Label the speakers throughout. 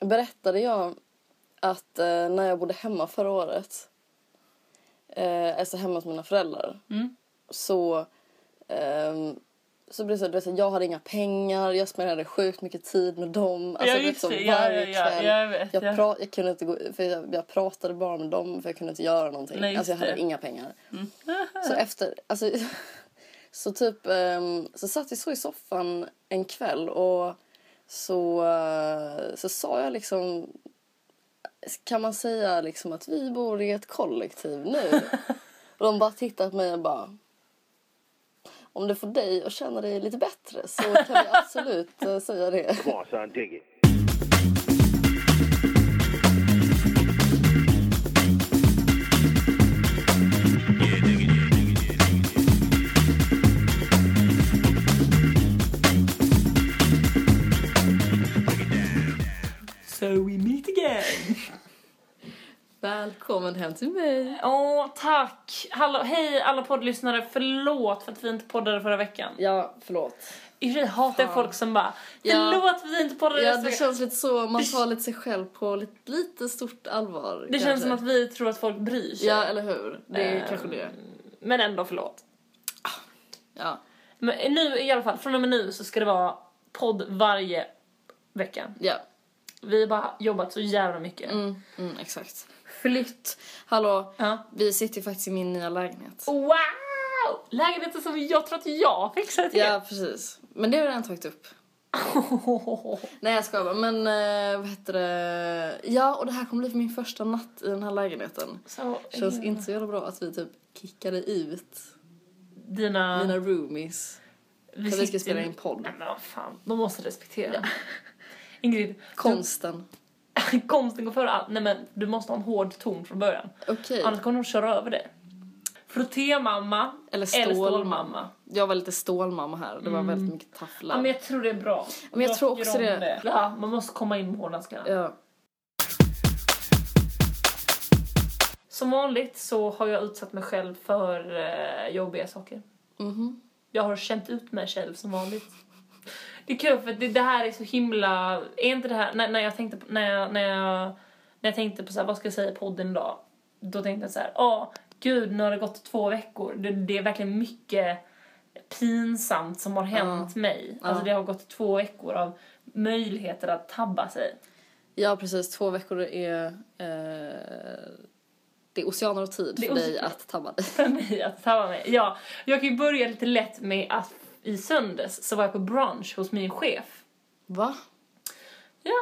Speaker 1: berättade jag att eh, när jag bodde hemma förra året, eh, alltså hemma hos mina föräldrar,
Speaker 2: Mm.
Speaker 1: så, ehm, så blev det så, du vet, att jag hade inga pengar, jag spenderade sjukt mycket tid med dem. Alltså,
Speaker 2: ja,
Speaker 1: du vet,
Speaker 2: just
Speaker 1: så
Speaker 2: det. Ja, ja, ja,
Speaker 1: kväll.
Speaker 2: jag vet.
Speaker 1: Jag,
Speaker 2: ja.
Speaker 1: pra- jag, kunde inte gå, för jag, jag pratade bara med dem för jag kunde inte göra någonting.
Speaker 2: Nej, just
Speaker 1: alltså jag hade
Speaker 2: det.
Speaker 1: inga pengar.
Speaker 2: Mm.
Speaker 1: Så efter, alltså, så typ, ehm, så satt vi så i soffan en kväll och så, eh, så sa jag liksom, kan man säga liksom att vi bor i ett kollektiv nu? och de bara tittade på mig och bara, om det får dig att känna dig lite bättre så kan vi absolut eh, säga det.
Speaker 3: Come on, son, dig it.
Speaker 2: So we meet again.
Speaker 1: Välkommen hem till mig.
Speaker 2: Åh, tack! Hallå, hej alla poddlyssnare, förlåt för att vi inte poddade förra veckan.
Speaker 1: Ja, förlåt.
Speaker 2: I och för sig hatar jag folk som bara
Speaker 1: Ja.
Speaker 2: förlåt för att vi inte poddade
Speaker 1: Ja,
Speaker 2: nästa
Speaker 1: det
Speaker 2: vecka.
Speaker 1: känns lite så. Man tar lite sig själv på lite, lite stort allvar.
Speaker 2: Det
Speaker 1: kanske.
Speaker 2: känns som att vi tror att folk bryr sig.
Speaker 1: Ja, eller hur? Det är
Speaker 2: Ehm.
Speaker 1: kanske det.
Speaker 2: Men ändå förlåt.
Speaker 1: Ja.
Speaker 2: Men nu i alla fall, från och med nu så ska det vara podd varje vecka.
Speaker 1: ja.
Speaker 2: Vi har bara jobbat så jävla mycket.
Speaker 1: Mm, mm, exakt. Flytt. Hallå,
Speaker 2: Ja.
Speaker 1: vi sitter ju faktiskt i min nya lägenhet.
Speaker 2: Wow! Lägenheten som jag tror att jag fixade till.
Speaker 1: Ja, precis. Men det har jag redan tagit upp. Nej, jag skojar bara. Men eh, vad heter det? Ja, och det här kommer bli min första natt i den här lägenheten.
Speaker 2: Så,
Speaker 1: Känns inte så jävla bra att vi typ kickade ut
Speaker 2: dina...
Speaker 1: mina roomies.
Speaker 2: vi
Speaker 1: För vi
Speaker 2: sitter-
Speaker 1: ska spela in podd.
Speaker 2: Nej men vad fan, de måste respektera. Ingrid,
Speaker 1: Konsten.
Speaker 2: du- konsten går före allt. Nej men du måste ha en hård ton från början.
Speaker 1: Okej.
Speaker 2: Annars kommer de köra över dig. Frottémamma
Speaker 1: Eller
Speaker 2: eller
Speaker 1: stålmamma.
Speaker 2: stålmamma.
Speaker 1: Jag var lite stålmamma här. Det var väldigt mycket tafflar.
Speaker 2: Ja, men jag tror det är bra.
Speaker 1: Men jag tror
Speaker 2: tycker
Speaker 1: också
Speaker 2: om
Speaker 1: det.
Speaker 2: Ja, man måste komma in med hårdhandskarna.
Speaker 1: Ja.
Speaker 2: Som vanligt så har jag utsatt mig själv för eh, jobbiga saker.
Speaker 1: Mhm.
Speaker 2: Jag har känt ut mig själv som vanligt. Det är kul för att det, det här är så himla... Är inte det här... När, när jag tänkte på, när jag, när jag, när jag tänkte på så här, vad ska jag säga i podden idag? Då tänkte jag så här, ja, gud nu har det gått två veckor. Det, det är verkligen mycket pinsamt som har hänt mig. Alltså det har gått två veckor av möjligheter att tabba sig.
Speaker 1: ja, precis. Två veckor är... Eh, det är oceaner och tid
Speaker 2: Det är
Speaker 1: för dig
Speaker 2: oceaner.
Speaker 1: att tabba dig.
Speaker 2: för mig att tabba mig. Ja, jag kan ju börja lite lätt med att i söndags så var jag på brunch hos min chef.
Speaker 1: Va?
Speaker 2: Ja,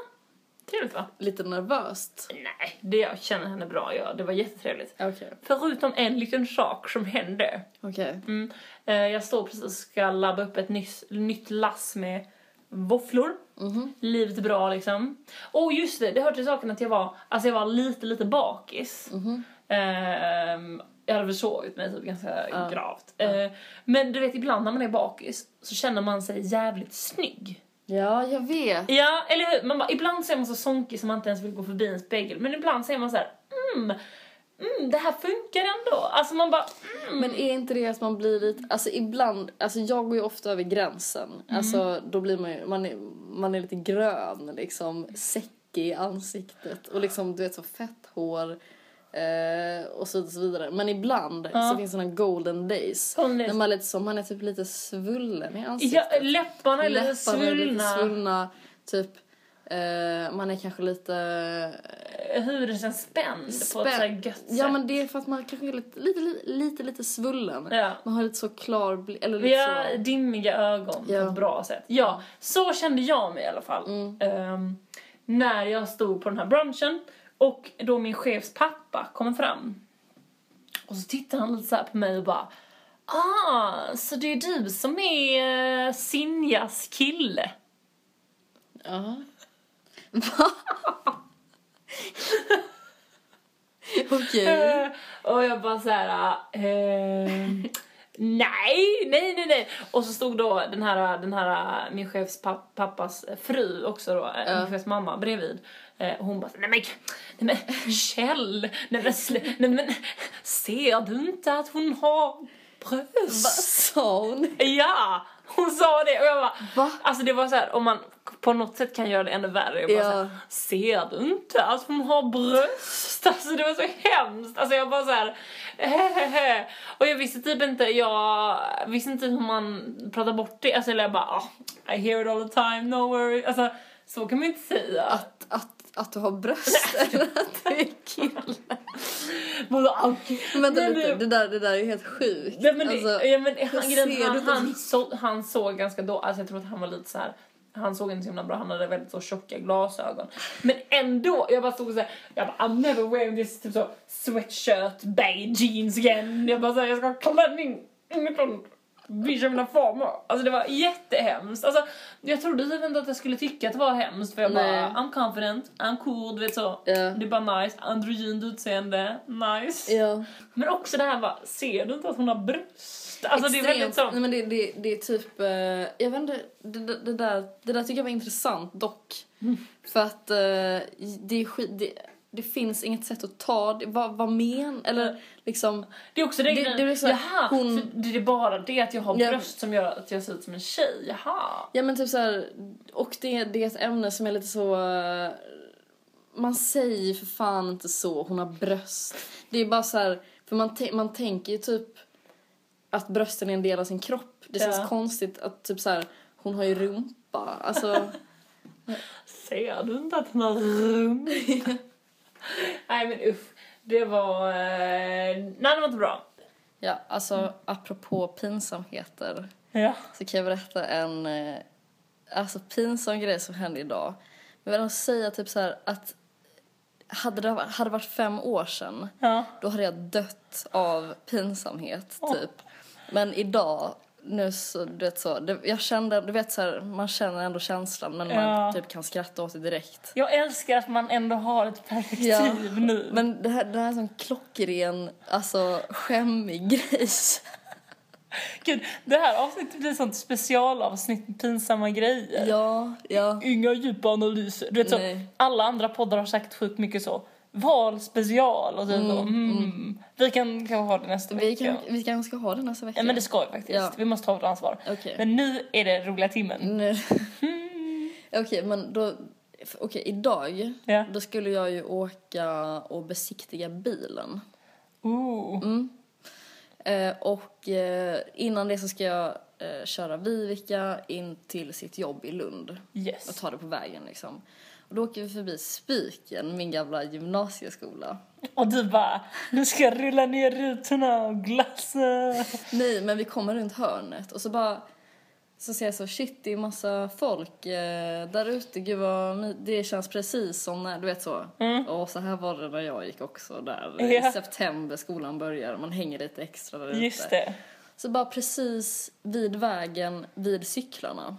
Speaker 2: trevligt va?
Speaker 1: Lite nervöst?
Speaker 2: Nej, det jag känner henne bra, ja, det var jättetrevligt.
Speaker 1: Okej.
Speaker 2: Förutom en liten sak som hände.
Speaker 1: Okej.
Speaker 2: Mm. Eh, jag står precis och ska labba upp ett nyss, nytt lass med våfflor. Livet är bra liksom. Och just det, det hör till saken att jag var, alltså jag var lite, lite bakis. Ehm, jag hade försovit mig typ ganska gravt. Eh, men du vet, ibland när man är bakis så känner man sig jävligt snygg.
Speaker 1: Ja, jag vet.
Speaker 2: Ja, eller hur? Man bara, ibland så är man så sonkig som man inte ens vill gå förbi en spegel. Men ibland så är man så här, mm, mm, det här funkar ändå. Alltså man bara,
Speaker 1: Men är inte det att man blir lite... Alltså ibland... Alltså jag går ju ofta över gränsen.
Speaker 2: Mm.
Speaker 1: Alltså då blir man ju... Man är, man är lite grön liksom. Säckig i ansiktet. Och liksom du vet så fett hår. Eh, och så så vidare. Men ibland så finns det såna golden days.
Speaker 2: Golden days.
Speaker 1: När man är lite så, man är typ lite svullen i ansiktet.
Speaker 2: Ja, läpparna är lite
Speaker 1: Läpparna är lite
Speaker 2: svullna.
Speaker 1: svullna. Typ... Eh, man är kanske lite
Speaker 2: Huden spänd, på ett så här gött sätt.
Speaker 1: Ja men det är för att man kanske är lite, lite, lite, lite, lite svullen.
Speaker 2: Ja.
Speaker 1: Man har lite så klar bli- eller lite
Speaker 2: Ja,
Speaker 1: så.
Speaker 2: dimmiga ögon
Speaker 1: Ja. Mm.
Speaker 2: på ett bra sätt. Ja, så kände jag mig i alla fall. Ehm, när jag stod på den här brunchen och då min chefs pappa kom fram. Och så tittade han lite så här på mig och bara Ah, så det är du som är eh, Sinjas kille?
Speaker 1: Ja. Okej.
Speaker 2: Eh, Och jag bara så här. Eh, nej, nej, nej, nej. Och så stod då den här, den här eh, min chefs pap- pappas fru också då, eh, min chefs mamma bredvid. Eh, och hon bara så, nej men, nej men Kjell, nej men, slä- nej men ser du inte att hon har bröst?
Speaker 1: Vad sa hon?
Speaker 2: Ja, hon sa det och jag bara...
Speaker 1: Va?
Speaker 2: Alltså det var så här, om man på något sätt kan göra det ännu värre. Jag bara
Speaker 1: Ja.
Speaker 2: så här, ser du inte att hon har bröst? Alltså det var så hemskt. Alltså jag bara så här, hehehe. Och jag visste typ inte, jag visste inte hur man pratar bort det. Alltså eller jag bara, ah, I hear it all the time, no worry. Alltså så kan man inte säga.
Speaker 1: Att, att, att du har bröst eller att du är kille.
Speaker 2: Vadå, okay.
Speaker 1: Vänta
Speaker 2: Nej,
Speaker 1: lite,
Speaker 2: men-
Speaker 1: det där, det där är ju helt sjukt.
Speaker 2: Nej, men,
Speaker 1: Alltså,
Speaker 2: det, ja, men han,
Speaker 1: ser
Speaker 2: grejen,
Speaker 1: du
Speaker 2: han,
Speaker 1: inte-
Speaker 2: han, så, han såg ganska då, alltså jag tror att han var lite så här. Han såg inte så himla bra, han hade väldigt så tjocka glasögon. Men ändå, jag bara stod såhär, jag bara I'm never wearing this typ så sweatshirt, beige jeans again. Jag bara såhär, jag ska ha klänning inifrån, visa mina former. Alltså det var jättehemskt. Alltså jag trodde typ inte att jag skulle tycka att det var hemskt för jag
Speaker 1: Nej.
Speaker 2: bara I'm confident, I'm cool, du vet så.
Speaker 1: Ja.
Speaker 2: Det är bara nice, androgynt utseende, nice.
Speaker 1: ja.
Speaker 2: Men också det här bara, ser du inte att hon har bröst? Alltså det är väldigt
Speaker 1: Nej,
Speaker 2: så.
Speaker 1: men det, det, det är typ... eh, jag vet inte, det, det, det, där, det där tycker jag var intressant dock.
Speaker 2: Mm.
Speaker 1: För att eh, det, är skit, det, det finns inget sätt att ta det. Vad, vad men...
Speaker 2: Mm.
Speaker 1: Eller liksom...
Speaker 2: Det är också det,
Speaker 1: Det-
Speaker 2: det,
Speaker 1: det är så här,
Speaker 2: jaha,
Speaker 1: hon-
Speaker 2: så det är bara det att jag har
Speaker 1: Ja.
Speaker 2: bröst som gör att jag ser ut som en tjej, jaha.
Speaker 1: Ja men typ så här, och det, det är ett ämne som är lite så... eh, Man säger för fan inte så, hon har bröst. Det är bara så här, för man, tän- man tänker ju typ att brösten är en del av sin kropp. Det
Speaker 2: Ja.
Speaker 1: känns konstigt att typ så här, hon har ju rumpa. Alltså,
Speaker 2: Ser du inte att hon har rum? Nej men usch, det var... Eh, nej det var inte bra.
Speaker 1: ja, alltså apropå pinsamheter
Speaker 2: Ja.
Speaker 1: så kan jag berätta en eh, alltså, pinsam grej som hände idag. Men jag vill ändå säga typ så här att hade det var- hade det varit fem år sedan
Speaker 2: ja.
Speaker 1: Då hade jag dött av pinsamhet, typ. Men idag, nu så, du vet så, det, jag kände, du vet så här, man känner ändå känslan men
Speaker 2: Ja.
Speaker 1: man typ kan skratta åt det direkt.
Speaker 2: Jag älskar att man ändå har ett perspektiv
Speaker 1: Ja.
Speaker 2: Typ nu.
Speaker 1: Men det här, det här är en sån klockren, alltså skämmig grej.
Speaker 2: Gud, det här avsnittet blir ett sånt specialavsnitt med pinsamma grejer.
Speaker 1: Ja, ja.
Speaker 2: Inga djupa analyser. Du vet så,
Speaker 1: Nej.
Speaker 2: alla andra poddar har sagt sjukt mycket så. Val special och typ så. Mm. Vi kan kanske ha det nästa
Speaker 1: Vi,
Speaker 2: vecka.
Speaker 1: kan, vi kanske ska ha den nästa vecka.
Speaker 2: Ja, men det ska vi faktiskt.
Speaker 1: Ja.
Speaker 2: Vi måste ta vårt ansvar.
Speaker 1: Okej. Mm.
Speaker 2: Men nu är det roliga timmen.
Speaker 1: Nu- Okej, men då... f- Okej, idag
Speaker 2: Ja.
Speaker 1: då skulle jag ju åka och besiktiga bilen.
Speaker 2: Ooh.
Speaker 1: Mm. Eh, och eh, innan det så ska jag eh, köra Vivica in till sitt jobb i Lund och
Speaker 2: Yes.
Speaker 1: ta det på vägen liksom. Och då åker vi förbi Spiken, min gamla gymnasieskola.
Speaker 2: Och du bara, nu ska jag rulla ner rutorna och glassa.
Speaker 1: Nej, men vi kommer runt hörnet och så bara så ser jag så shit, det är massa folk eh, där ute. Gud vad my- det känns precis som när du vet så. Och så här var det när jag gick också där
Speaker 2: Mm. Ja.
Speaker 1: i september skolan börjar. Man hänger lite extra där ute.
Speaker 2: Just det.
Speaker 1: Så bara precis vid vägen vid cyklarna.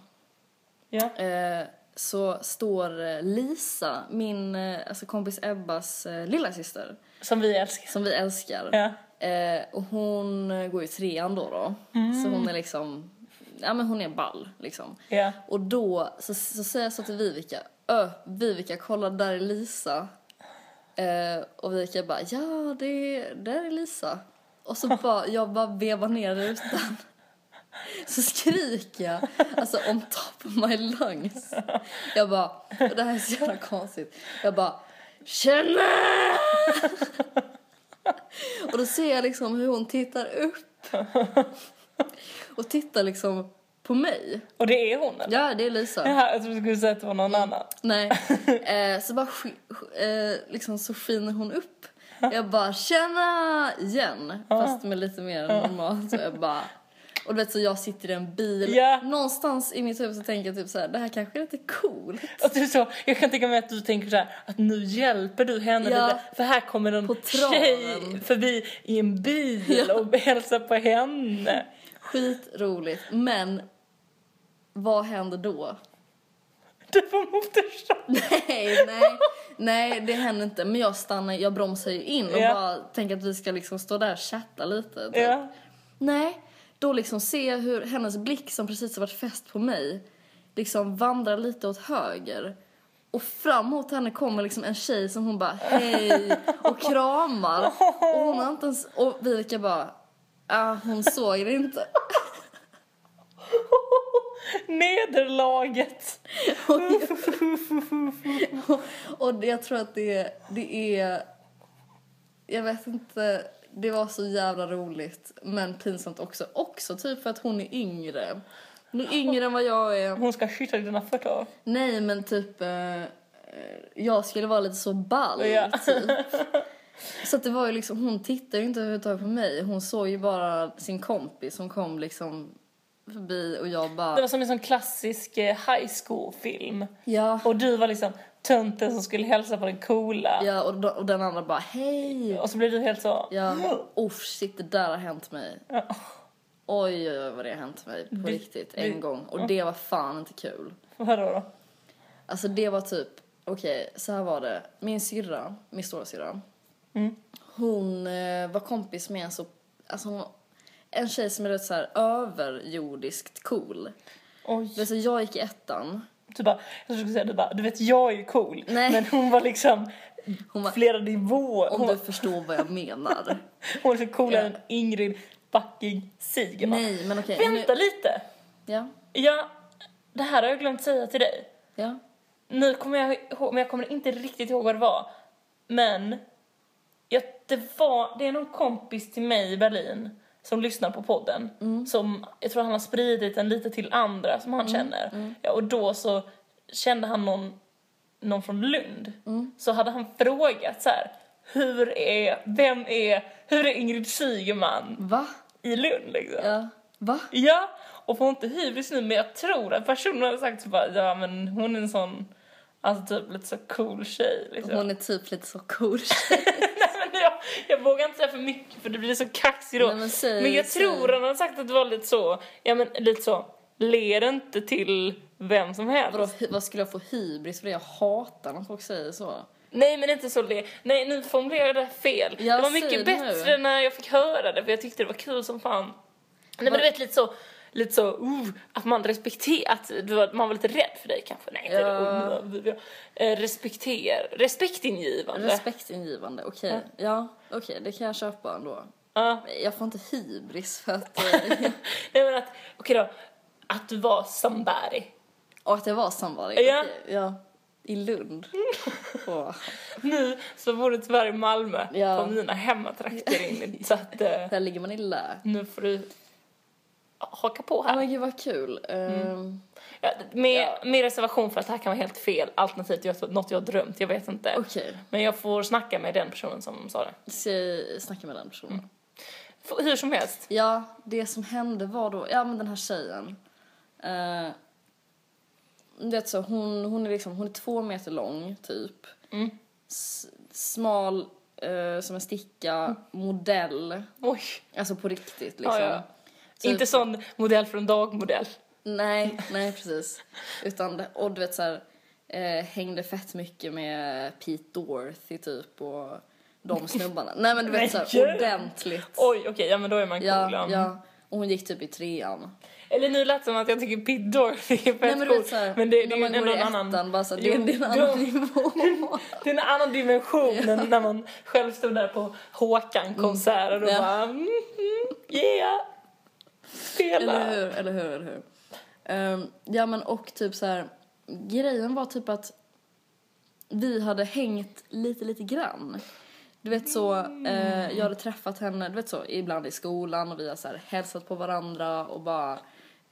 Speaker 2: Ja.
Speaker 1: eh, så står eh, Lisa, min eh, alltså kompis Ebbas eh, lilla syster
Speaker 2: Som vi älskar.
Speaker 1: som vi älskar.
Speaker 2: Ja.
Speaker 1: Eh, och hon eh, går i trean då. då. Så hon är liksom, ja men hon är ball liksom.
Speaker 2: Ja.
Speaker 1: Och då så, så säger jag så till Vivica, ö Vivica kolla där är Lisa. Eh, och Vivica bara, ja det där är Lisa. Och så bara, jag bara vevar ner rutan. Så skriker jag, alltså on top of my lungs. Jag bara, och det här är så jävla konstigt. Jag bara, känner! Och då ser jag liksom hur hon tittar upp. Och tittar liksom på mig.
Speaker 2: Och det är hon eller?
Speaker 1: Ja, Mm. det är Lisa.
Speaker 2: Jaha, jag trodde du skulle säga att det var någon annan.
Speaker 1: Nej. Eh, så bara sk- sk- eh, liksom så skiner hon upp. Jag bara tjena igen. Fast med lite mer än normalt. Så jag bara... Och du vet så jag sitter i en bil.
Speaker 2: Ja.
Speaker 1: Någonstans i mitt huvud så tänker jag typ så här, det här kanske är lite coolt.
Speaker 2: Och du så, jag kan tänka mig att du tänker så här, att nu hjälper du henne
Speaker 1: Ja.
Speaker 2: lite för här kommer
Speaker 1: På
Speaker 2: en
Speaker 1: traven.
Speaker 2: tjej förbi i en bil och hälsar på henne.
Speaker 1: Skitroligt. Men vad händer då?
Speaker 2: Du får motorsåg.
Speaker 1: Nej, nej, nej, det händer inte. Men jag stannar, jag bromsar ju in och
Speaker 2: Ja.
Speaker 1: bara tänker att vi ska liksom stå där och chatta lite. typ.
Speaker 2: Ja.
Speaker 1: Nej, då liksom ser jag hur hennes blick som precis har varit fäst på mig liksom vandrar lite åt höger. Och framåt henne kommer liksom en tjej som hon bara hej och kramar. Och hon har inte ens, och Vivica bara, ah, hon såg det inte.
Speaker 2: Nederlaget.
Speaker 1: Och, och, och jag tror att det, det är... Jag vet inte. Det var så jävla roligt, men pinsamt också. Också typ för att hon är yngre. Hon är yngre än vad jag är.
Speaker 2: Hon ska kyssa dina fötter.
Speaker 1: Nej, men typ... Eh, jag skulle vara lite så ball,
Speaker 2: Ja.
Speaker 1: typ. Så att det var ju liksom, hon tittade ju inte överhuvudtaget på mig. Hon såg ju bara sin kompis som kom liksom förbi och jag
Speaker 2: Det
Speaker 1: bara...
Speaker 2: var som en sån klassisk eh, high school-film.
Speaker 1: Ja.
Speaker 2: Och du var liksom tönten som skulle hälsa på den coola.
Speaker 1: Ja, och, då- och den andra bara hej.
Speaker 2: Och så blev du helt så...
Speaker 1: Ja, oh shit, det där har hänt mig.
Speaker 2: Ja.
Speaker 1: Oj, oj, oj vad det har hänt mig på
Speaker 2: Det-
Speaker 1: riktigt
Speaker 2: det-
Speaker 1: en gång. Och det var fan inte kul.
Speaker 2: Vadå då?
Speaker 1: Alltså det var typ, okej, så här var det. Min syrra, min stora syrra.
Speaker 2: Mm.
Speaker 1: Hon eh, var kompis med en så, alltså hon, en tjej som är rätt så här överjordiskt cool.
Speaker 2: Oj.
Speaker 1: Alltså jag gick i ettan.
Speaker 2: Du bara, jag skulle säga du bara, du vet jag är ju cool.
Speaker 1: Nej.
Speaker 2: Men hon var liksom
Speaker 1: Hon var,
Speaker 2: flera nivåer. Hon,
Speaker 1: om du
Speaker 2: var-
Speaker 1: förstår vad jag menar.
Speaker 2: hon var liksom coolare
Speaker 1: Ja.
Speaker 2: än Ingrid fucking Sigema.
Speaker 1: Nej, men okej. nu-
Speaker 2: Vänta lite!
Speaker 1: Ja,
Speaker 2: Ja, det här har jag glömt säga till dig.
Speaker 1: ja.
Speaker 2: Nu kommer jag ihåg, men jag kommer inte riktigt ihåg vad det var. Men, ja, det var, det är någon kompis till mig i Berlin som lyssnar på podden. Som, jag tror han har spridit den lite till andra som han känner. Ja, och då så kände han någon, någon från Lund. Så hade han frågat så här, hur är, vem är, hur är Ingrid Sygeman
Speaker 1: Va?
Speaker 2: i Lund liksom?
Speaker 1: Ja. Va?
Speaker 2: Ja, och får inte hybris nu men jag tror att personen har sagt så bara ja men hon är en sån alltså typ lite så cool tjej liksom.
Speaker 1: Hon är typ lite så cool.
Speaker 2: Nej, men jag, jag vågar inte säga för mycket för det blir så kaxigt då.
Speaker 1: Nej, men säg-
Speaker 2: jag
Speaker 1: säg.
Speaker 2: tror han har sagt att det var lite så, ja men lite så, ler inte till vem som helst.
Speaker 1: Vadå, hy- vad skulle jag få hybris för det? Jag hatar när folk säger så.
Speaker 2: Nej men inte så le, nej nu formulerar jag det här fel.
Speaker 1: Ja,
Speaker 2: det var
Speaker 1: säg
Speaker 2: mycket
Speaker 1: det
Speaker 2: bättre när jag fick höra det för jag tyckte det var kul som fan. Nej men du vet lite så, lite så, uh, att man respekterar, att du var, man var lite rädd för dig kanske. Nej inte
Speaker 1: Ja.
Speaker 2: det, uh, eh, respekter, respektingivande.
Speaker 1: Respektingivande, okej. Ja, okej, det kan jag köpa ändå.
Speaker 2: Ja.
Speaker 1: Jag får inte hybris för att... eh,
Speaker 2: nej men att, okej då, att du var somebody.
Speaker 1: och att jag var somebody.
Speaker 2: Ja.
Speaker 1: Okej, ja. I Lund. Åh,
Speaker 2: Nu så bor du tyvärr i Malmö,
Speaker 1: Ja.
Speaker 2: på mina hemmatrakter Ingrid. så att eh,
Speaker 1: där ligger man i lä.
Speaker 2: nu får du haka på
Speaker 1: Ja
Speaker 2: här.
Speaker 1: men gud vad kul.
Speaker 2: Mm.
Speaker 1: Ehm,
Speaker 2: Ja, med,
Speaker 1: Ja.
Speaker 2: med reservation för att det här kan vara helt fel alternativt jag, något jag har drömt, jag vet inte.
Speaker 1: Okej,
Speaker 2: Men jag får snacka med den personen som sa det.
Speaker 1: ska jag snacka med den personen?
Speaker 2: F- hur som helst.
Speaker 1: Ja, det som hände var då, ja men den här tjejen. Eh, du vet så, hon, hon, är liksom, hon är två meter lång typ.
Speaker 2: Mm.
Speaker 1: S- smal eh, som en sticka, modell.
Speaker 2: Oj.
Speaker 1: Alltså på riktigt liksom.
Speaker 2: Mm. Ja, ja.
Speaker 1: Typ-
Speaker 2: Inte sån modell från dagmodell.
Speaker 1: Nej, nej precis. Utan, det- och du vet så här, eh, hängde fett mycket med Pete Dorothy typ och de snubbarna. nej men du vet så
Speaker 2: Men
Speaker 1: här,
Speaker 2: gud!
Speaker 1: ordentligt.
Speaker 2: Oj, okej, ja men då är man cool.
Speaker 1: Ja, ja. Och hon gick typ i trean.
Speaker 2: Eller nu lät det som att jag tycker Pid Dorothy är fett
Speaker 1: Nej men du vet såhär,
Speaker 2: men det, det
Speaker 1: när
Speaker 2: är ju
Speaker 1: man
Speaker 2: ändå
Speaker 1: går i
Speaker 2: en annan...
Speaker 1: ettan bara såhär, det,
Speaker 2: Jo,
Speaker 1: det är en
Speaker 2: då-
Speaker 1: annan nivå.
Speaker 2: Det är en annan dimension än när man själv stod där på Håkan-konsert och då
Speaker 1: Mm. Ja.
Speaker 2: bara... Mm, mm, yeah!
Speaker 1: eller
Speaker 2: Spela!
Speaker 1: hur, eller hur, eller hur. Ehm, ja men och typ så här, grejen var typ att vi hade hängt lite, lite grann. Du vet så, eh, jag hade träffat henne, du vet så, ibland i skolan och vi har så här hälsat på varandra och bara,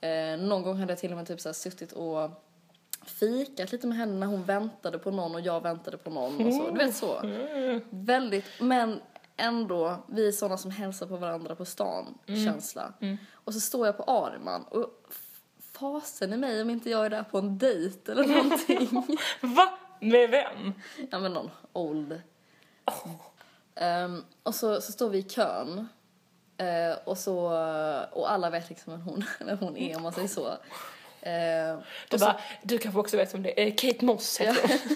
Speaker 1: eh, någon gång hade jag till och med typ så här suttit och fikat lite med henne när hon väntade på någon och jag väntade på någon och så, du vet så. Väldigt, men ändå, vi är sådana som hälsar på varandra på stan, känsla. Och så står jag på Arman och f- fasen i mig om inte jag är där på en dejt eller någonting.
Speaker 2: Va? Med vem?
Speaker 1: ja men någon old. Ehm, och så, så står vi i kön. Eh, och, så, och alla vet liksom vem hon, vem hon är om man säger så. Ehm,
Speaker 2: Du, bara, du kanske också vet om det är. Eh, Kate Moss heter hon.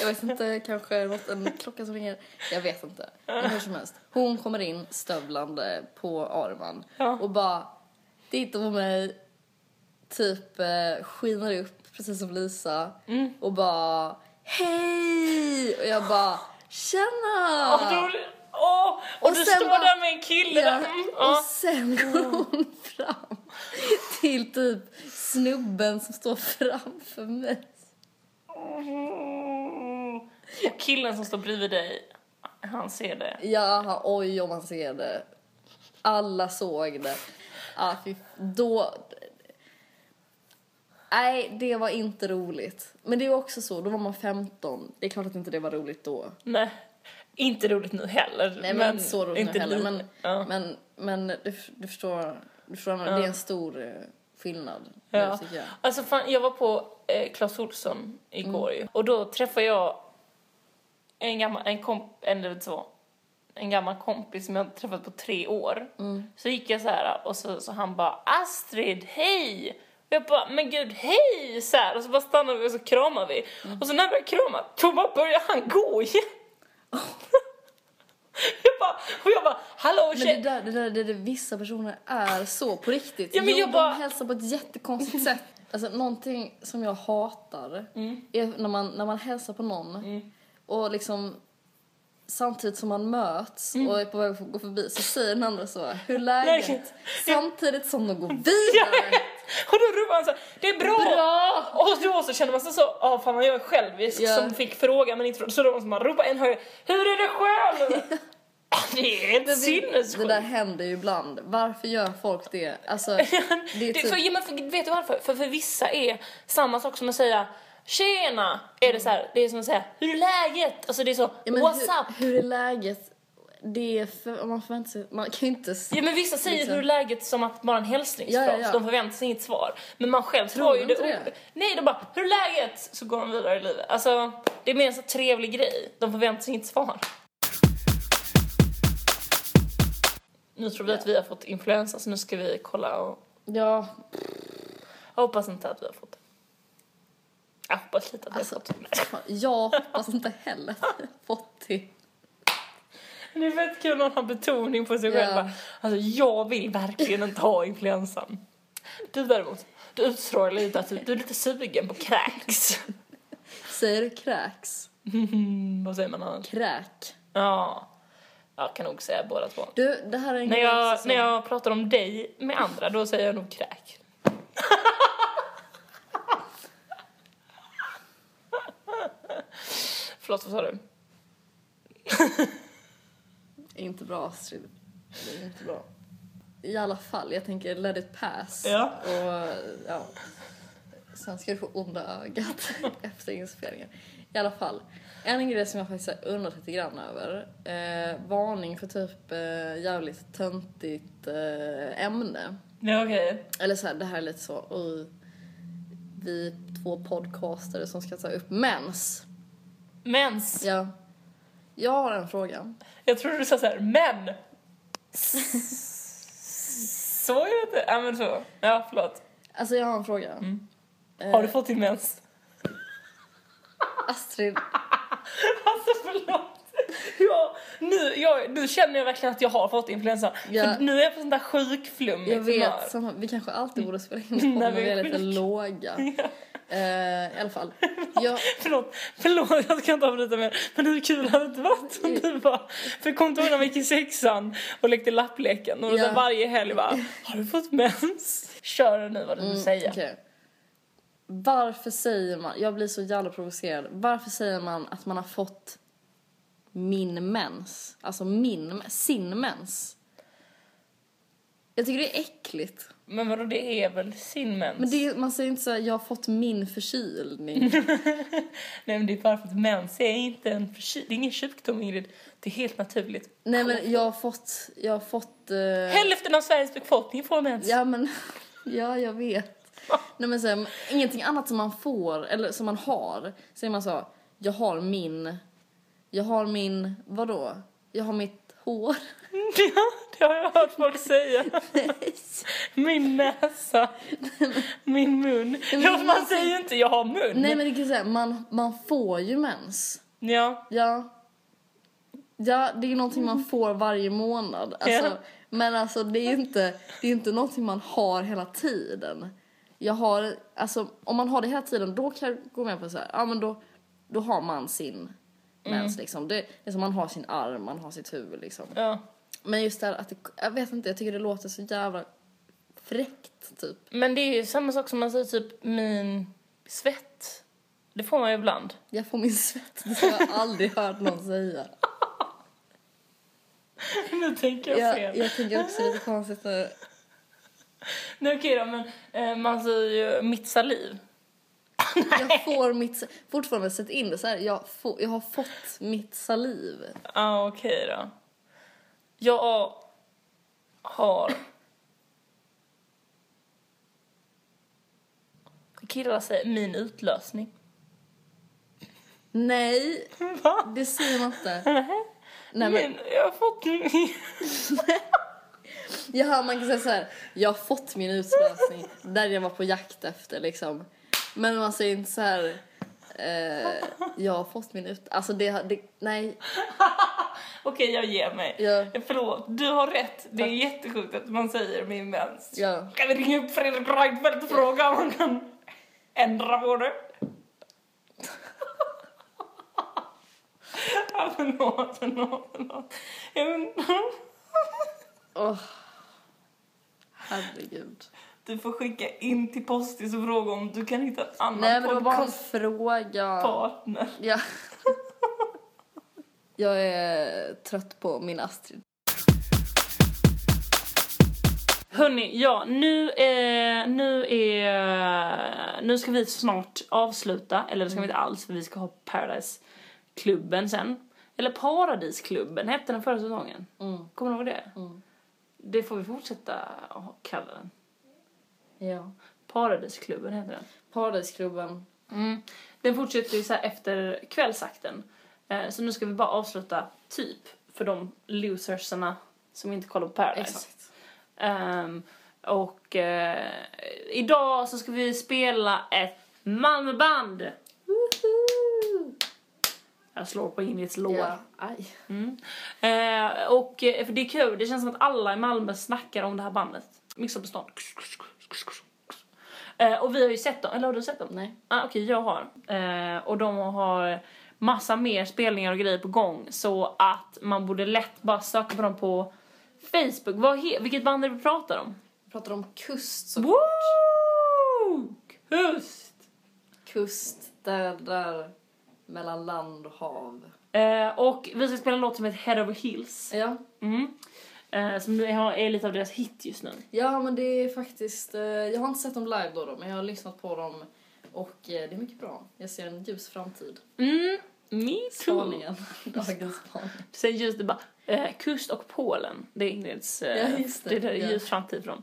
Speaker 1: Jag vet inte, kanske något, en klocka som ringer. Jag vet inte. Men hur som helst. Hon kommer in stövlande på Arman
Speaker 2: Ja.
Speaker 1: och bara tittar på mig, typ eh, skiner upp precis som Lisa och bara hej! Och jag bara tjena!
Speaker 2: Och, då, åh, och,
Speaker 1: Och
Speaker 2: du
Speaker 1: sen
Speaker 2: står
Speaker 1: bara-
Speaker 2: där med en kille.
Speaker 1: Ja,
Speaker 2: där. Mm,
Speaker 1: och
Speaker 2: ja.
Speaker 1: sen går hon fram till till typ snubben som står framför mig.
Speaker 2: Och killen som står bredvid dig, han ser det.
Speaker 1: Ja, han- oj om man ser det. Alla såg det. Ah, fy, då... Nej, det var inte roligt. Men det är också så, då var man 15. Det är klart att inte det var roligt då.
Speaker 2: Nej. Inte roligt nu heller.
Speaker 1: Nej, men, inte så roligt nu heller.
Speaker 2: li-
Speaker 1: Men,
Speaker 2: ja.
Speaker 1: men, men du, du förstår, du förstår vad jag menar. det är en stor eh, skillnad. nu,
Speaker 2: Ja.
Speaker 1: tycker jag.
Speaker 2: Alltså fan, jag var på eh, Clas Ohlson igår
Speaker 1: Mm.
Speaker 2: ju. Och då träffade jag en gammal, en komp, en, eller så, en gammal kompis som jag inte träffat på tre år.
Speaker 1: Mm.
Speaker 2: Så gick jag så här och så, så han bara Astrid, hej! Och jag bara, men gud, hej! Så här, och så bara stannade vi och så kramade vi.
Speaker 1: Mm.
Speaker 2: Och så när vi började krama, då bara började han gå igen.
Speaker 1: Oh.
Speaker 2: jag bara, och jag bara, hallå
Speaker 1: Men
Speaker 2: tjej!
Speaker 1: det där, det där, det där, vissa personer är så på riktigt.
Speaker 2: Ja, men
Speaker 1: jo,
Speaker 2: jag
Speaker 1: de
Speaker 2: bara-
Speaker 1: hälsar på ett jättekonstigt sätt. Alltså, någonting som jag hatar
Speaker 2: Mm.
Speaker 1: är när man, när man hälsar på någon och liksom samtidigt som man möts
Speaker 2: Mm.
Speaker 1: och är på väg att gå förbi så säger den andra så här, hur läget?
Speaker 2: Läget.
Speaker 1: Samtidigt som de går
Speaker 2: Jag
Speaker 1: vidare.
Speaker 2: vet! Och då ropar han så här, det är bra!
Speaker 1: Bra!
Speaker 2: Och då så känner man sig så, ja fan vad jag är självisk
Speaker 1: Ja.
Speaker 2: som fick fråga men inte fråga. Så då måste man ropa en högre, hur är det själv? det är
Speaker 1: Men
Speaker 2: ett sinnessjukt.
Speaker 1: det där händer ju ibland. Varför gör folk det? Alltså, det är
Speaker 2: Det, för,
Speaker 1: typ,
Speaker 2: ja, men för, vet du varför? För, för vissa är samma sak som att säga Tjena! Är det så här, det är som att säga Hur är läget? Alltså det är så
Speaker 1: ja, men
Speaker 2: What's up?
Speaker 1: hur, hur är läget? Det är för, man förväntar sig, man kan ju inte s-
Speaker 2: Ja men vissa säger
Speaker 1: Liksom.
Speaker 2: hur är läget som att bara en hälsningsfras.
Speaker 1: Ja, ja, ja.
Speaker 2: De förväntar sig inget svar. Men man själv
Speaker 1: Tror
Speaker 2: tar
Speaker 1: de
Speaker 2: ju
Speaker 1: inte
Speaker 2: det,
Speaker 1: det?
Speaker 2: ordet. Nej, de bara hur är läget? Så går de vidare i livet. Alltså det är mer en så trevlig grej. De förväntar sig inget svar. Nu tror vi att vi har fått influensa så nu ska vi kolla och
Speaker 1: Ja,
Speaker 2: jag hoppas inte att vi har fått det. Jag hoppas lite att vi
Speaker 1: Alltså,
Speaker 2: har fått det.
Speaker 1: fan, jag hoppas inte heller att jag fått det.
Speaker 2: Det är fett kul när man har betoning på sig
Speaker 1: Ja.
Speaker 2: själv. Bara, Alltså, jag vill verkligen inte ha influensan. Du däremot, du utstrålar lite att du, du är lite sugen på kräks.
Speaker 1: Säger du kräks?
Speaker 2: Mm, vad säger man annars?
Speaker 1: Kräk.
Speaker 2: Ja, jag kan nog säga båda två.
Speaker 1: Du, det här är en
Speaker 2: När
Speaker 1: grej
Speaker 2: jag,
Speaker 1: som-
Speaker 2: när jag pratar om dig med andra, då säger jag nog kräk. Förlåt, vad sa du?
Speaker 1: Inte bra, Astrid. Det är inte bra. I alla fall, jag tänker let it pass.
Speaker 2: Ja.
Speaker 1: Och, ja. Sen ska du få onda ögat efter inspelningen. I alla fall, en grej som jag faktiskt har undrat lite grann över. Eh, varning för typ eh, jävligt töntigt eh, ämne.
Speaker 2: Nej, okej. Okay.
Speaker 1: Eller så här, det här är lite så, oj. Vi två podcastare som ska ta upp mens.
Speaker 2: Mens.
Speaker 1: Ja. Jag har en fråga.
Speaker 2: Jag trodde du sa såhär, men! så är det inte. Ja, men så. Ja, förlåt.
Speaker 1: Alltså jag har en fråga.
Speaker 2: Har
Speaker 1: Eh.
Speaker 2: du fått din mens?
Speaker 1: Astrid,
Speaker 2: Alltså förlåt. Jag, nu, jag, nu känner jag verkligen att jag har fått influensa.
Speaker 1: Ja.
Speaker 2: För nu är jag på sånt där sjukflummigt
Speaker 1: jag
Speaker 2: humör.
Speaker 1: vet, samma, vi kanske alltid borde spela in podden när vi är lite
Speaker 2: sjuka.
Speaker 1: låga. Eh, I alla fall. Jag,
Speaker 2: Förlåt, förlåt, jag ska inte avbryta mer. Men hur kul hade det inte varit om du bara... För kom du ihåg när vi gick i sexan och lekte lappleken? Och
Speaker 1: Ja.
Speaker 2: så varje helg bara, har du fått mens? Kör det nu vad du vill säga.
Speaker 1: mm, okej. Varför säger man, jag blir så jävla provocerad. Varför säger man att man har fått min mens? Alltså min, sin mens. Jag tycker det är äckligt.
Speaker 2: Men vadå, det är väl sin mens?
Speaker 1: Men det, man säger inte så här, jag har fått min förkylning.
Speaker 2: Mm. Nej men det är bara för att mens är inte en förkyl... Det är ingen sjukdom Ingrid. Det är helt naturligt.
Speaker 1: Nej men jag har fått, jag har fått... eh,
Speaker 2: Hälften av Sveriges befolkning får mens.
Speaker 1: ja men, ja jag vet. Nej men så här, ingenting annat som man får, eller som man har, säger man så, jag har min, jag har min, vadå? Jag har mitt hår.
Speaker 2: Ja, det har jag hört folk säga. Min näsa. Min mun.
Speaker 1: men
Speaker 2: Ja, för man
Speaker 1: man-
Speaker 2: säger ju inte jag har mun.
Speaker 1: Nej men det kan säga, man, man får ju mens.
Speaker 2: Ja.
Speaker 1: Ja. Ja, det är ju någonting man får varje månad. Alltså,
Speaker 2: Ja.
Speaker 1: Men alltså det är ju inte, det är ju inte någonting man har hela tiden. Jag har, alltså om man har det hela tiden då kan jag gå med på så här, ja men då, då har man sin
Speaker 2: Mm.
Speaker 1: mens liksom. Det är som man har sin arm, man har sitt huvud liksom.
Speaker 2: ja.
Speaker 1: Men just det här att det, jag vet inte, jag tycker det låter så jävla fräckt typ.
Speaker 2: Men det är ju samma sak som man säger typ min svett. Det får man ju ibland.
Speaker 1: Jag får min svett. Det har jag aldrig hört någon säga.
Speaker 2: nu tänker jag, fel.
Speaker 1: Jag, jag tycker också det är lite konstigt när...
Speaker 2: Nej, okej då, men eh, man säger ju mitt saliv.
Speaker 1: Jag får mitt... Fortfarande sätt in det så här. Jag, får, jag har fått mitt saliv.
Speaker 2: Ja, ah, okej då. Jag har... Killar säger min utlösning.
Speaker 1: Nej,
Speaker 2: Va?
Speaker 1: det säger man inte.
Speaker 2: Nej,
Speaker 1: Nej, men,
Speaker 2: Min, jag har fått min...
Speaker 1: jaha, man kan säga så här. Jag har fått min utlösning. Där jag var på jakt efter liksom. Men man säger inte så här. Eh, jag har fått min ut... Alltså det, har- det... Nej.
Speaker 2: Okej, jag ger mig.
Speaker 1: Ja.
Speaker 2: Förlåt, du har rätt. Det är jättesjukt att man säger min mens.
Speaker 1: Ja.
Speaker 2: Kan vi ringa upp Fredrik Reinfeldt och fråga om han kan ändra på det? Ja, förlåt, förlåt, förlåt. Ja, men-
Speaker 1: Åh. Herregud.
Speaker 2: Du får skicka in till Postis och fråga om du kan hitta en annan
Speaker 1: Nej men det var bara en
Speaker 2: poddpartner.
Speaker 1: fråga. Ja. Jag är trött på min Astrid.
Speaker 2: Hörni, ja, nu, eh, nu är... Nu ska vi snart avsluta, eller det ska vi inte alls för vi ska ha Paradise-klubben sen. Eller Paradisklubben hette den förra säsongen.
Speaker 1: Mm.
Speaker 2: Kommer du ihåg det?
Speaker 1: Mm.
Speaker 2: Det får vi fortsätta ha- kalla den.
Speaker 1: Ja.
Speaker 2: Paradisklubben heter den.
Speaker 1: Paradisklubben.
Speaker 2: Mm. Den fortsätter ju så här efter kvällsakten. Eh, så nu ska vi bara avsluta typ för de losersarna som inte kollar på Paradise.
Speaker 1: Exakt.
Speaker 2: Ehm, och eh, idag så ska vi spela ett Malmöband.
Speaker 1: Woho!
Speaker 2: Jag slår på Ingrids lår.
Speaker 1: Ja. Aj.
Speaker 2: Mm. Eh, och eh, för det är kul, det känns som att alla i Malmö snackar om det här bandet. Mixar på stan. Eh, och vi har ju sett dem, eller har du sett dem?
Speaker 1: Nej.
Speaker 2: Ah, Okej, jag har. Eh, och de har massa mer spelningar och grejer på gång så att man borde lätt bara söka på dem på Facebook. Vad he- vilket band är det vi pratar om?
Speaker 1: Vi pratar om kust. Så
Speaker 2: Woo! Kust!
Speaker 1: kust där, där mellan land och hav.
Speaker 2: Eh, och vi ska spela en låt som heter Head Over Heels.
Speaker 1: Ja.
Speaker 2: Mm. Eh, som nu har- är lite av deras hit just nu.
Speaker 1: Ja men det är faktiskt, eh, jag har inte sett dem live då, då men jag har lyssnat på dem och eh, det är mycket bra. Jag ser en ljus framtid.
Speaker 2: Mm, me too.
Speaker 1: Spaningen. Dagens spaning.
Speaker 2: Sen just det bara, eh, kust och Polen, det är Ingrids, eh,
Speaker 1: Ja, just det.
Speaker 2: det, är där
Speaker 1: Ja.
Speaker 2: ljus framtid för dem.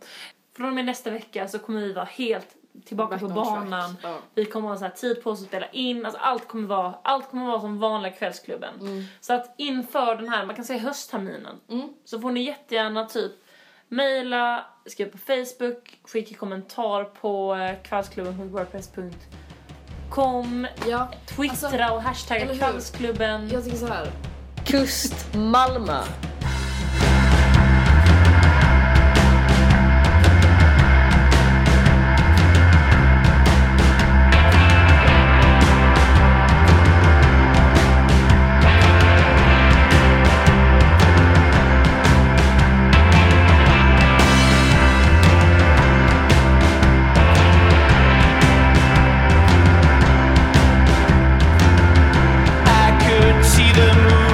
Speaker 2: Från och med nästa vecka så kommer vi vara helt tillbaka på banan.
Speaker 1: Ja.
Speaker 2: Vi kommer ha så här tid på oss att spela in, alltså allt kommer vara, allt kommer vara som vanliga kvällsklubben. Så att inför den här, man kan säga höstterminen,
Speaker 1: Mm.
Speaker 2: så får ni jättegärna typ mejla, skriva på Facebook, skicka kommentar på eh, kvällsklubben.wordpress.com,
Speaker 1: ja.
Speaker 2: twittra och
Speaker 1: Alltså, eller
Speaker 2: hashtagga
Speaker 1: hur?
Speaker 2: kvällsklubben.
Speaker 1: Jag tycker så här. Kust Malmö.
Speaker 3: I could see the moon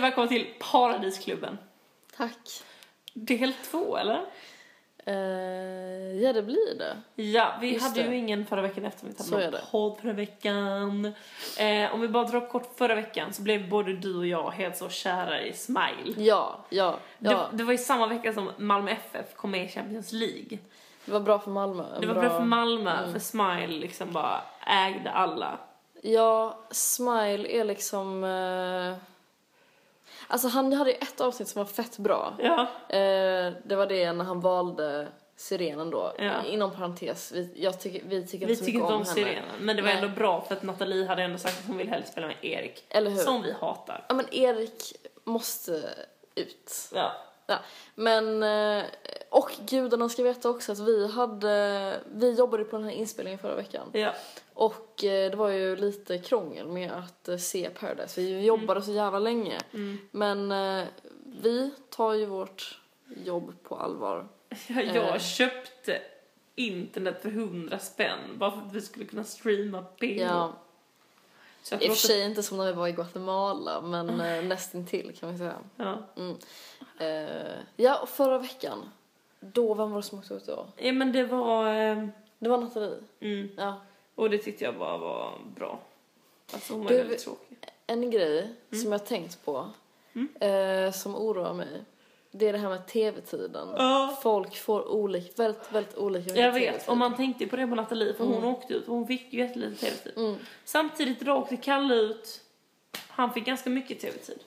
Speaker 2: välkomna till Paradisklubben.
Speaker 1: Tack.
Speaker 2: Del två, eller?
Speaker 1: Eh, ja, det blir det.
Speaker 2: Ja, vi
Speaker 1: Just
Speaker 2: hade
Speaker 1: det.
Speaker 2: ju ingen förra veckan efter vi
Speaker 1: Så
Speaker 2: hade
Speaker 1: är
Speaker 2: någon
Speaker 1: det.
Speaker 2: podd förra veckan. Eh, om vi bara drar upp kort förra veckan så blev både du och jag helt så kära i Smile.
Speaker 1: Ja, ja, ja.
Speaker 2: Det, det var ju samma vecka som Malmö FF kom med i Champions League.
Speaker 1: Det var bra Mm. för Malmö. En
Speaker 2: Det var bra, för Malmö, för Smile liksom bara ägde alla.
Speaker 1: Ja, Smile är liksom... Eh... Alltså han hade ju ett avsnitt som var fett bra.
Speaker 2: Ja.
Speaker 1: Eh, det var det när han valde sirenen då.
Speaker 2: Ja.
Speaker 1: Inom parentes, vi, jag tycker, vi tycker
Speaker 2: Vi
Speaker 1: inte så
Speaker 2: tycker
Speaker 1: mycket
Speaker 2: inte
Speaker 1: om,
Speaker 2: om
Speaker 1: henne.
Speaker 2: sirenen, men det var
Speaker 1: Nej.
Speaker 2: ändå bra för att Nathalie hade ändå sagt att hon ville hellre spela med Erik.
Speaker 1: Eller hur?
Speaker 2: Som vi hatar.
Speaker 1: Ja men Erik måste ut.
Speaker 2: Ja.
Speaker 1: Ja. Men, eh, och gudarna ska veta också att vi hade, vi jobbade på den här inspelningen förra veckan.
Speaker 2: ja.
Speaker 1: Och eh, det var ju lite krångel med att eh, se Paradise.
Speaker 2: Mm.
Speaker 1: Vi jobbade så jävla länge. Men eh, vi tar ju vårt jobb på allvar.
Speaker 2: Ja, Jag
Speaker 1: Eh.
Speaker 2: köpte internet för 100 spänn bara för att vi skulle kunna streama bild.
Speaker 1: Ja,
Speaker 2: Så Mm.
Speaker 1: I och
Speaker 2: jag Mm.
Speaker 1: för
Speaker 2: låter...
Speaker 1: sig inte som när vi var i Guatemala, men eh, nästintill kan vi säga.
Speaker 2: ja.
Speaker 1: Mm. Eh, ja, och förra veckan, då, vem var det som åkte ut då?
Speaker 2: ja, men det var... eh,
Speaker 1: Det var Nathalie.
Speaker 2: Mm.
Speaker 1: Ja.
Speaker 2: Och det tyckte jag bara var bra. Alltså hon var
Speaker 1: Du-
Speaker 2: väldigt tråkig.
Speaker 1: En grej
Speaker 2: Mm.
Speaker 1: som jag tänkt på, eh, som oroar mig, det är det här med tv-tiden.
Speaker 2: Ja.
Speaker 1: Folk får olik, väldigt, väldigt olika mycket
Speaker 2: Jag vet,
Speaker 1: TV-tid.
Speaker 2: och man tänkte ju på det på Nathalie för hon åkte ut och hon fick ju jättelite tv-tid.
Speaker 1: Mm.
Speaker 2: Samtidigt då åkte Kalle ut, han fick ganska mycket tv-tid.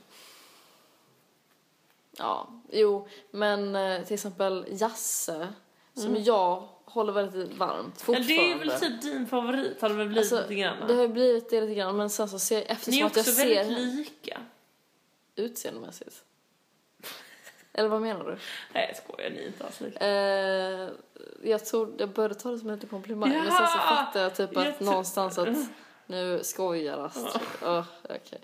Speaker 1: Ja, jo, men eh, till exempel Jasse, som jag håller väldigt varmt
Speaker 2: Men
Speaker 1: fortfarande.
Speaker 2: Mm.
Speaker 1: Alltså,
Speaker 2: det är väl typ din favorit har det väl blivit lite grann.
Speaker 1: det har ju blivit det lite grann, men sen så ser jag,
Speaker 2: Ni
Speaker 1: eftersom
Speaker 2: är
Speaker 1: att jag
Speaker 2: också väldigt
Speaker 1: ser
Speaker 2: lika.
Speaker 1: utseendemässigt. Eller vad menar du?
Speaker 2: Nej jag skojar, ni är inte alls lika.
Speaker 1: Eh, jag tror jag började ta det som en liten komplimang men sen så
Speaker 2: Ja!
Speaker 1: fattade jag typ att
Speaker 2: Jag tro-
Speaker 1: någonstans att nu skojar Astrid. Oh, okej.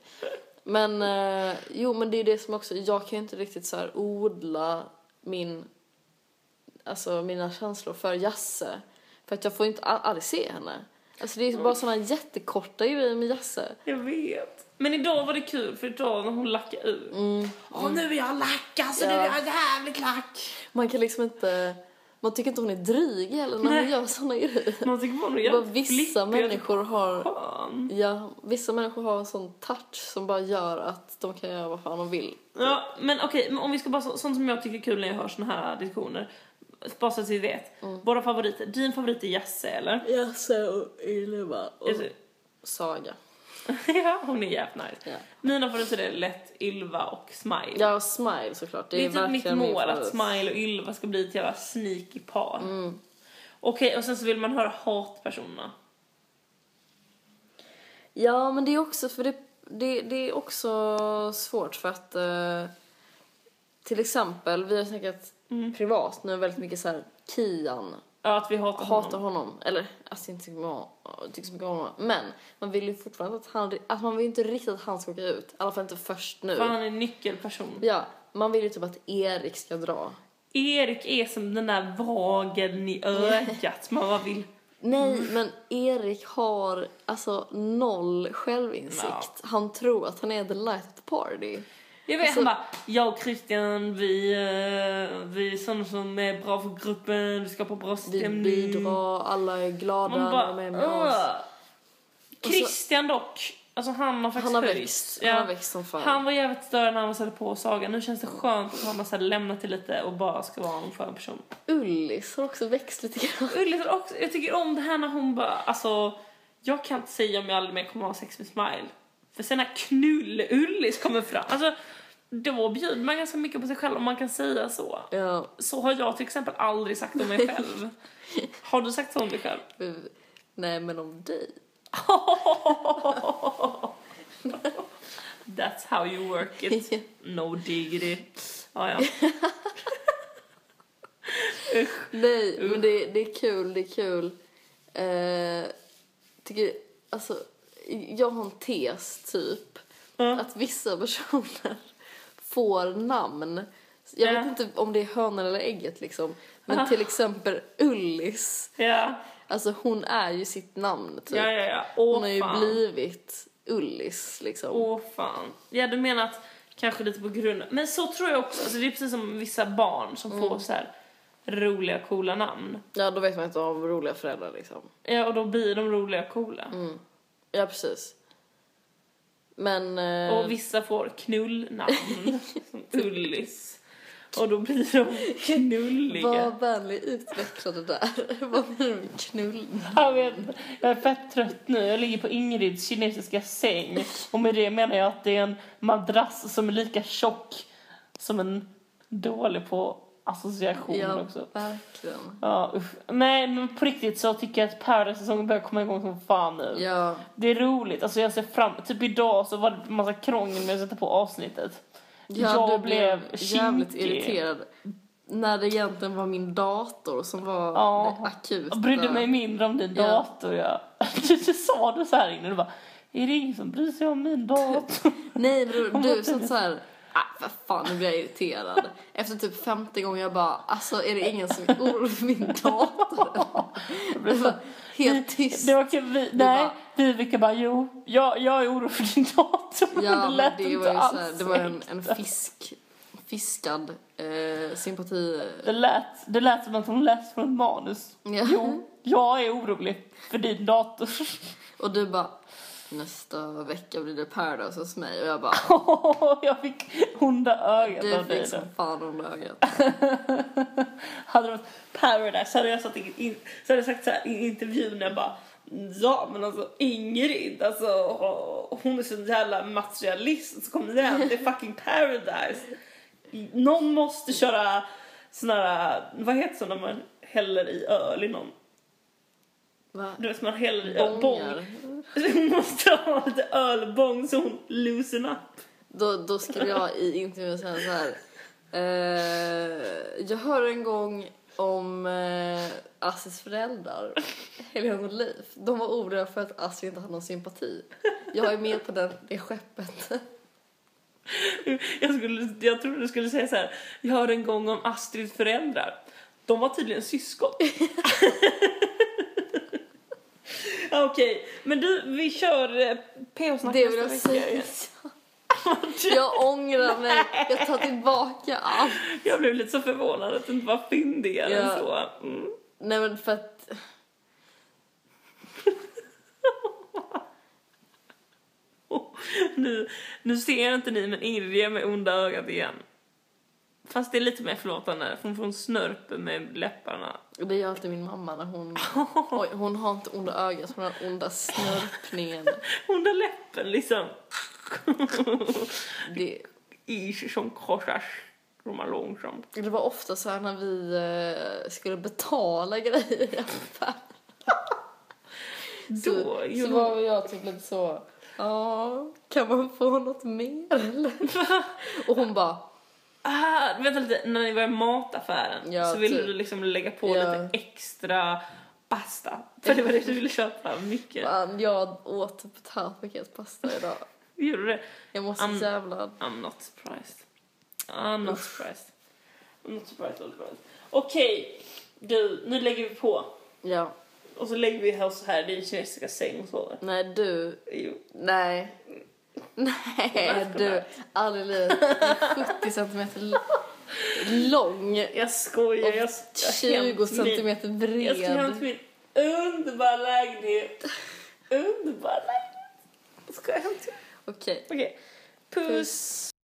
Speaker 1: Men eh, jo men det är det som också, jag kan ju inte riktigt så här odla min, alltså mina känslor för Jasse. För att jag får inte a- aldrig se henne. Alltså det är ju bara såna jättekorta grejer med Jasse.
Speaker 2: Jag vet. Men idag var det kul för idag när hon lackade ur. Åh nu är jag lack alltså,
Speaker 1: Ja.
Speaker 2: nu är jag jävligt lack.
Speaker 1: Man kan liksom inte, man tycker inte hon är dryg heller när hon
Speaker 2: Nej.
Speaker 1: gör såna grejer.
Speaker 2: Man tycker bara hon är
Speaker 1: Bara
Speaker 2: jävligt
Speaker 1: vissa
Speaker 2: flippig och
Speaker 1: människor har
Speaker 2: skön.
Speaker 1: Ja, vissa människor har en sån touch som bara gör att de kan göra vad fan de vill.
Speaker 2: Ja, men okej, men om vi ska bara så, sånt som jag tycker är kul när jag hör såna här diskussioner. Bara så att vi vet. Våra favoriter. Din favorit är Jasse eller?
Speaker 1: Jasse och Ylva och
Speaker 2: Alltså,
Speaker 1: Saga.
Speaker 2: ja, hon är jävligt nice.
Speaker 1: Ja.
Speaker 2: Mina favoriter är lätt Ylva och Smile.
Speaker 1: Ja, och Smile såklart. Det,
Speaker 2: Det
Speaker 1: är,
Speaker 2: är typ mitt
Speaker 1: verkligen min
Speaker 2: mål att
Speaker 1: favorit.
Speaker 2: Smile och Ylva ska bli ett jävla sneaky par. Okej, och sen så vill man höra hatpersonerna.
Speaker 1: Ja, men det är också för det, det, det är också svårt för att eh, till exempel, vi har snackat
Speaker 2: Mm.
Speaker 1: privat nu väldigt mycket så här Kian
Speaker 2: Ja, att vi hatar,
Speaker 1: hatar
Speaker 2: honom.
Speaker 1: honom. Eller, alltså inte tycker om- tycker så mycket om honom. Men man vill ju fortfarande att han, att man vill ju inte riktigt att han ska åka ut. I alla fall inte först nu.
Speaker 2: För han är en nyckelperson.
Speaker 1: Ja, man vill ju typ att Erik ska dra.
Speaker 2: Erik är som den där vagen i ögat. Man bara vill...
Speaker 1: Nej, men Erik har alltså noll självinsikt.
Speaker 2: Ja.
Speaker 1: Han tror att han är the light of the party.
Speaker 2: Jag vet,
Speaker 1: Alltså-
Speaker 2: han bara, jag och Christian, vi, eh, vi är sådana som är bra för gruppen, vi skapar bra
Speaker 1: Vi
Speaker 2: stämning.
Speaker 1: bidrar, alla är glada
Speaker 2: Man
Speaker 1: när de är med oss.
Speaker 2: bara, "Åh." Christian dock, alltså han har faktiskt
Speaker 1: Han har
Speaker 2: höjts.
Speaker 1: växt,
Speaker 2: Ja.
Speaker 1: han har växt som fan.
Speaker 2: Han var jävligt större när han var så här på Saga. Nu känns det skönt att han har så här lämnat det lite och bara ska vara en skön person.
Speaker 1: Ullis har också växt lite grann.
Speaker 2: Ullis har också, jag tycker om det här när hon bara, alltså jag kan inte säga om jag aldrig mer kommer ha sex med Smile. För sen när knull-Ullis kommer fram, alltså då bjuder man ganska mycket på sig själv om man kan säga så.
Speaker 1: Ja,
Speaker 2: Så har jag till exempel aldrig sagt om mig själv. Har du sagt så om dig själv?
Speaker 1: vi- nej, men om dig.
Speaker 2: That's how you work it. No diggity. Ja, ja.
Speaker 1: Nej, men det, det är kul, det är kul. Eh, tycker, alltså, jag har en tes, typ. Att vissa personer får namn. Jag
Speaker 2: Ja.
Speaker 1: vet inte om det är hönan eller ägget, liksom. Men
Speaker 2: Ah.
Speaker 1: till exempel Ullis.
Speaker 2: Ja,
Speaker 1: Alltså, hon är ju sitt namn, typ.
Speaker 2: ja, ja. ja.
Speaker 1: Hon
Speaker 2: Åh,
Speaker 1: har ju
Speaker 2: fan.
Speaker 1: blivit Ullis, liksom.
Speaker 2: Åh fan. Ja, du menar att Kanske lite på grund Men så tror jag också. Alltså det är precis som vissa barn som
Speaker 1: Mm.
Speaker 2: får så här roliga, coola namn.
Speaker 1: Ja, då vet man inte av roliga föräldrar liksom.
Speaker 2: Ja, och då blir de roliga, coola.
Speaker 1: Mm. Ja, precis. Men... eh,
Speaker 2: Och vissa får knullnamn. som Ullis. Och då blir de knulliga.
Speaker 1: Vad vänlig utveckla det där. Vad menar du med knull?
Speaker 2: Jag, vet, jag är fett trött nu. Jag ligger på Ingrids kinesiska säng. Och med det menar jag att det är en madrass som är lika tjock som en dålig på association
Speaker 1: Ja,
Speaker 2: också.
Speaker 1: verkligen.
Speaker 2: Ja, usch. Nej, men på riktigt så tycker jag att Paradise-säsongen börjar komma igång som fan nu.
Speaker 1: Ja,
Speaker 2: Det är roligt. Alltså jag ser fram Typ idag så var det massa krångel med att sätta på avsnittet.
Speaker 1: ja
Speaker 2: jag
Speaker 1: du blev jävligt
Speaker 2: kinkig.
Speaker 1: irriterad. När det egentligen var min dator som var
Speaker 2: Ja.
Speaker 1: det akuta.
Speaker 2: Jag brydde mig mindre om din
Speaker 1: Ja.
Speaker 2: dator. Ja. Du, du sa det så här innan. Du bara, är det ingen som bryr sig om min dator?
Speaker 1: Nej, men du, du som så här... Ah, för fan, nu blir jag irriterad. Efter typ femte gången jag bara, alltså är det ingen som är orolig för min dator?
Speaker 2: Jag
Speaker 1: Det
Speaker 2: blev så-
Speaker 1: var helt tyst.
Speaker 2: Det var kul. Vi, nej,
Speaker 1: bara-
Speaker 2: Vivica bara, jo, jag, jag är orolig för din dator. Men
Speaker 1: Ja,
Speaker 2: det
Speaker 1: men
Speaker 2: lät
Speaker 1: det
Speaker 2: inte
Speaker 1: var ju
Speaker 2: alls
Speaker 1: så här, det var en, en
Speaker 2: äkta.
Speaker 1: fisk, fiskad eh, sympati.
Speaker 2: Det lät, det lät som att hon läste från ett manus.
Speaker 1: Ja.
Speaker 2: Jo, Mm. jag är orolig för din dator.
Speaker 1: Och du bara, nästa vecka blir det Paradise hos mig. Och jag bara,
Speaker 2: jag fick onda ögat
Speaker 1: du
Speaker 2: av dig
Speaker 1: fick
Speaker 2: då.
Speaker 1: som fan om ögat.
Speaker 2: Hade det varit Paradise hade jag, satt in, in, så hade jag sagt så här i intervjun, jag bara Ja men alltså Ingrid, alltså hon är så jävla materialist så kommer det hem, det är fucking paradise. Någon måste köra sån här, vad heter det när man häller i öl i någon?
Speaker 1: Va?
Speaker 2: Du vet man häller i öl,
Speaker 1: Bongar.
Speaker 2: bång. Hon måste ha lite ölbång så hon loosen up.
Speaker 1: Då, då skrev jag i intervjun sen så här. Eh, jag hörde en gång om eh, Assis föräldrar, Helena och Liv. De var oroliga för att Assi inte hade någon sympati. Jag är med på den, det skeppet.
Speaker 2: Jag, skulle, jag trodde du skulle säga så här. Jag hörde en gång om Astrids föräldrar. De var tydligen syskon. Okej, men du, vi kör eh, PH-snack
Speaker 1: Det vill jag
Speaker 2: nästa vecka
Speaker 1: säga.
Speaker 2: igen.
Speaker 1: Jag ångrar mig. Jag tar tillbaka allt.
Speaker 2: Jag blev lite så förvånad att du inte var fyndigare
Speaker 1: Ja.
Speaker 2: än så. Mm.
Speaker 1: Nej men för att...
Speaker 2: Och Nu, nu ser inte ni, men Ingrid ger mig onda ögat igen. Fast det är lite mer förlåtande, för hon får en snörp med läpparna.
Speaker 1: Det gör alltid min mamma när hon... Oj, hon har inte onda ögat, hon har onda snörpningen.
Speaker 2: Onda läppen, liksom.
Speaker 1: Det,
Speaker 2: is som korsas de här långsamt.
Speaker 1: det var ofta så här när vi eh, skulle betala grejer. i affären.
Speaker 2: Då
Speaker 1: Så, så
Speaker 2: gjorde
Speaker 1: var väl jag typ lite så... Ja, kan man få något mer eller? Och hon bara...
Speaker 2: Ah, vänta lite, när ni var i mataffären
Speaker 1: Ja,
Speaker 2: så ville
Speaker 1: typ.
Speaker 2: du liksom lägga på
Speaker 1: Ja.
Speaker 2: lite extra pasta. För det var det du ville köpa mycket.
Speaker 1: "Fan, Jag åt typ ett halvt paket pasta idag.
Speaker 2: Gjorde du det?
Speaker 1: Jag måste
Speaker 2: Am-
Speaker 1: jävla...
Speaker 2: I'm not surprised. I'm not surprised. I'm not surprised, not surprised. Okej, du, nu lägger vi på.
Speaker 1: Ja, och
Speaker 2: Och så lägger vi oss här i din kinesiska säng och sover.
Speaker 1: nej du...
Speaker 2: Jo.
Speaker 1: Nej. Nej,
Speaker 2: Varför
Speaker 1: du.
Speaker 2: det?
Speaker 1: Aldrig i livet. Du är 70 centimeter l- lång
Speaker 2: Jag skojar. jag- jag
Speaker 1: och 20
Speaker 2: jag-
Speaker 1: centimeter
Speaker 2: Jag ska
Speaker 1: bred.
Speaker 2: hem till min underbara lägenhet. Underbara lägenhet. Ska jag hem till...
Speaker 1: Okej.
Speaker 2: Okej. Puss.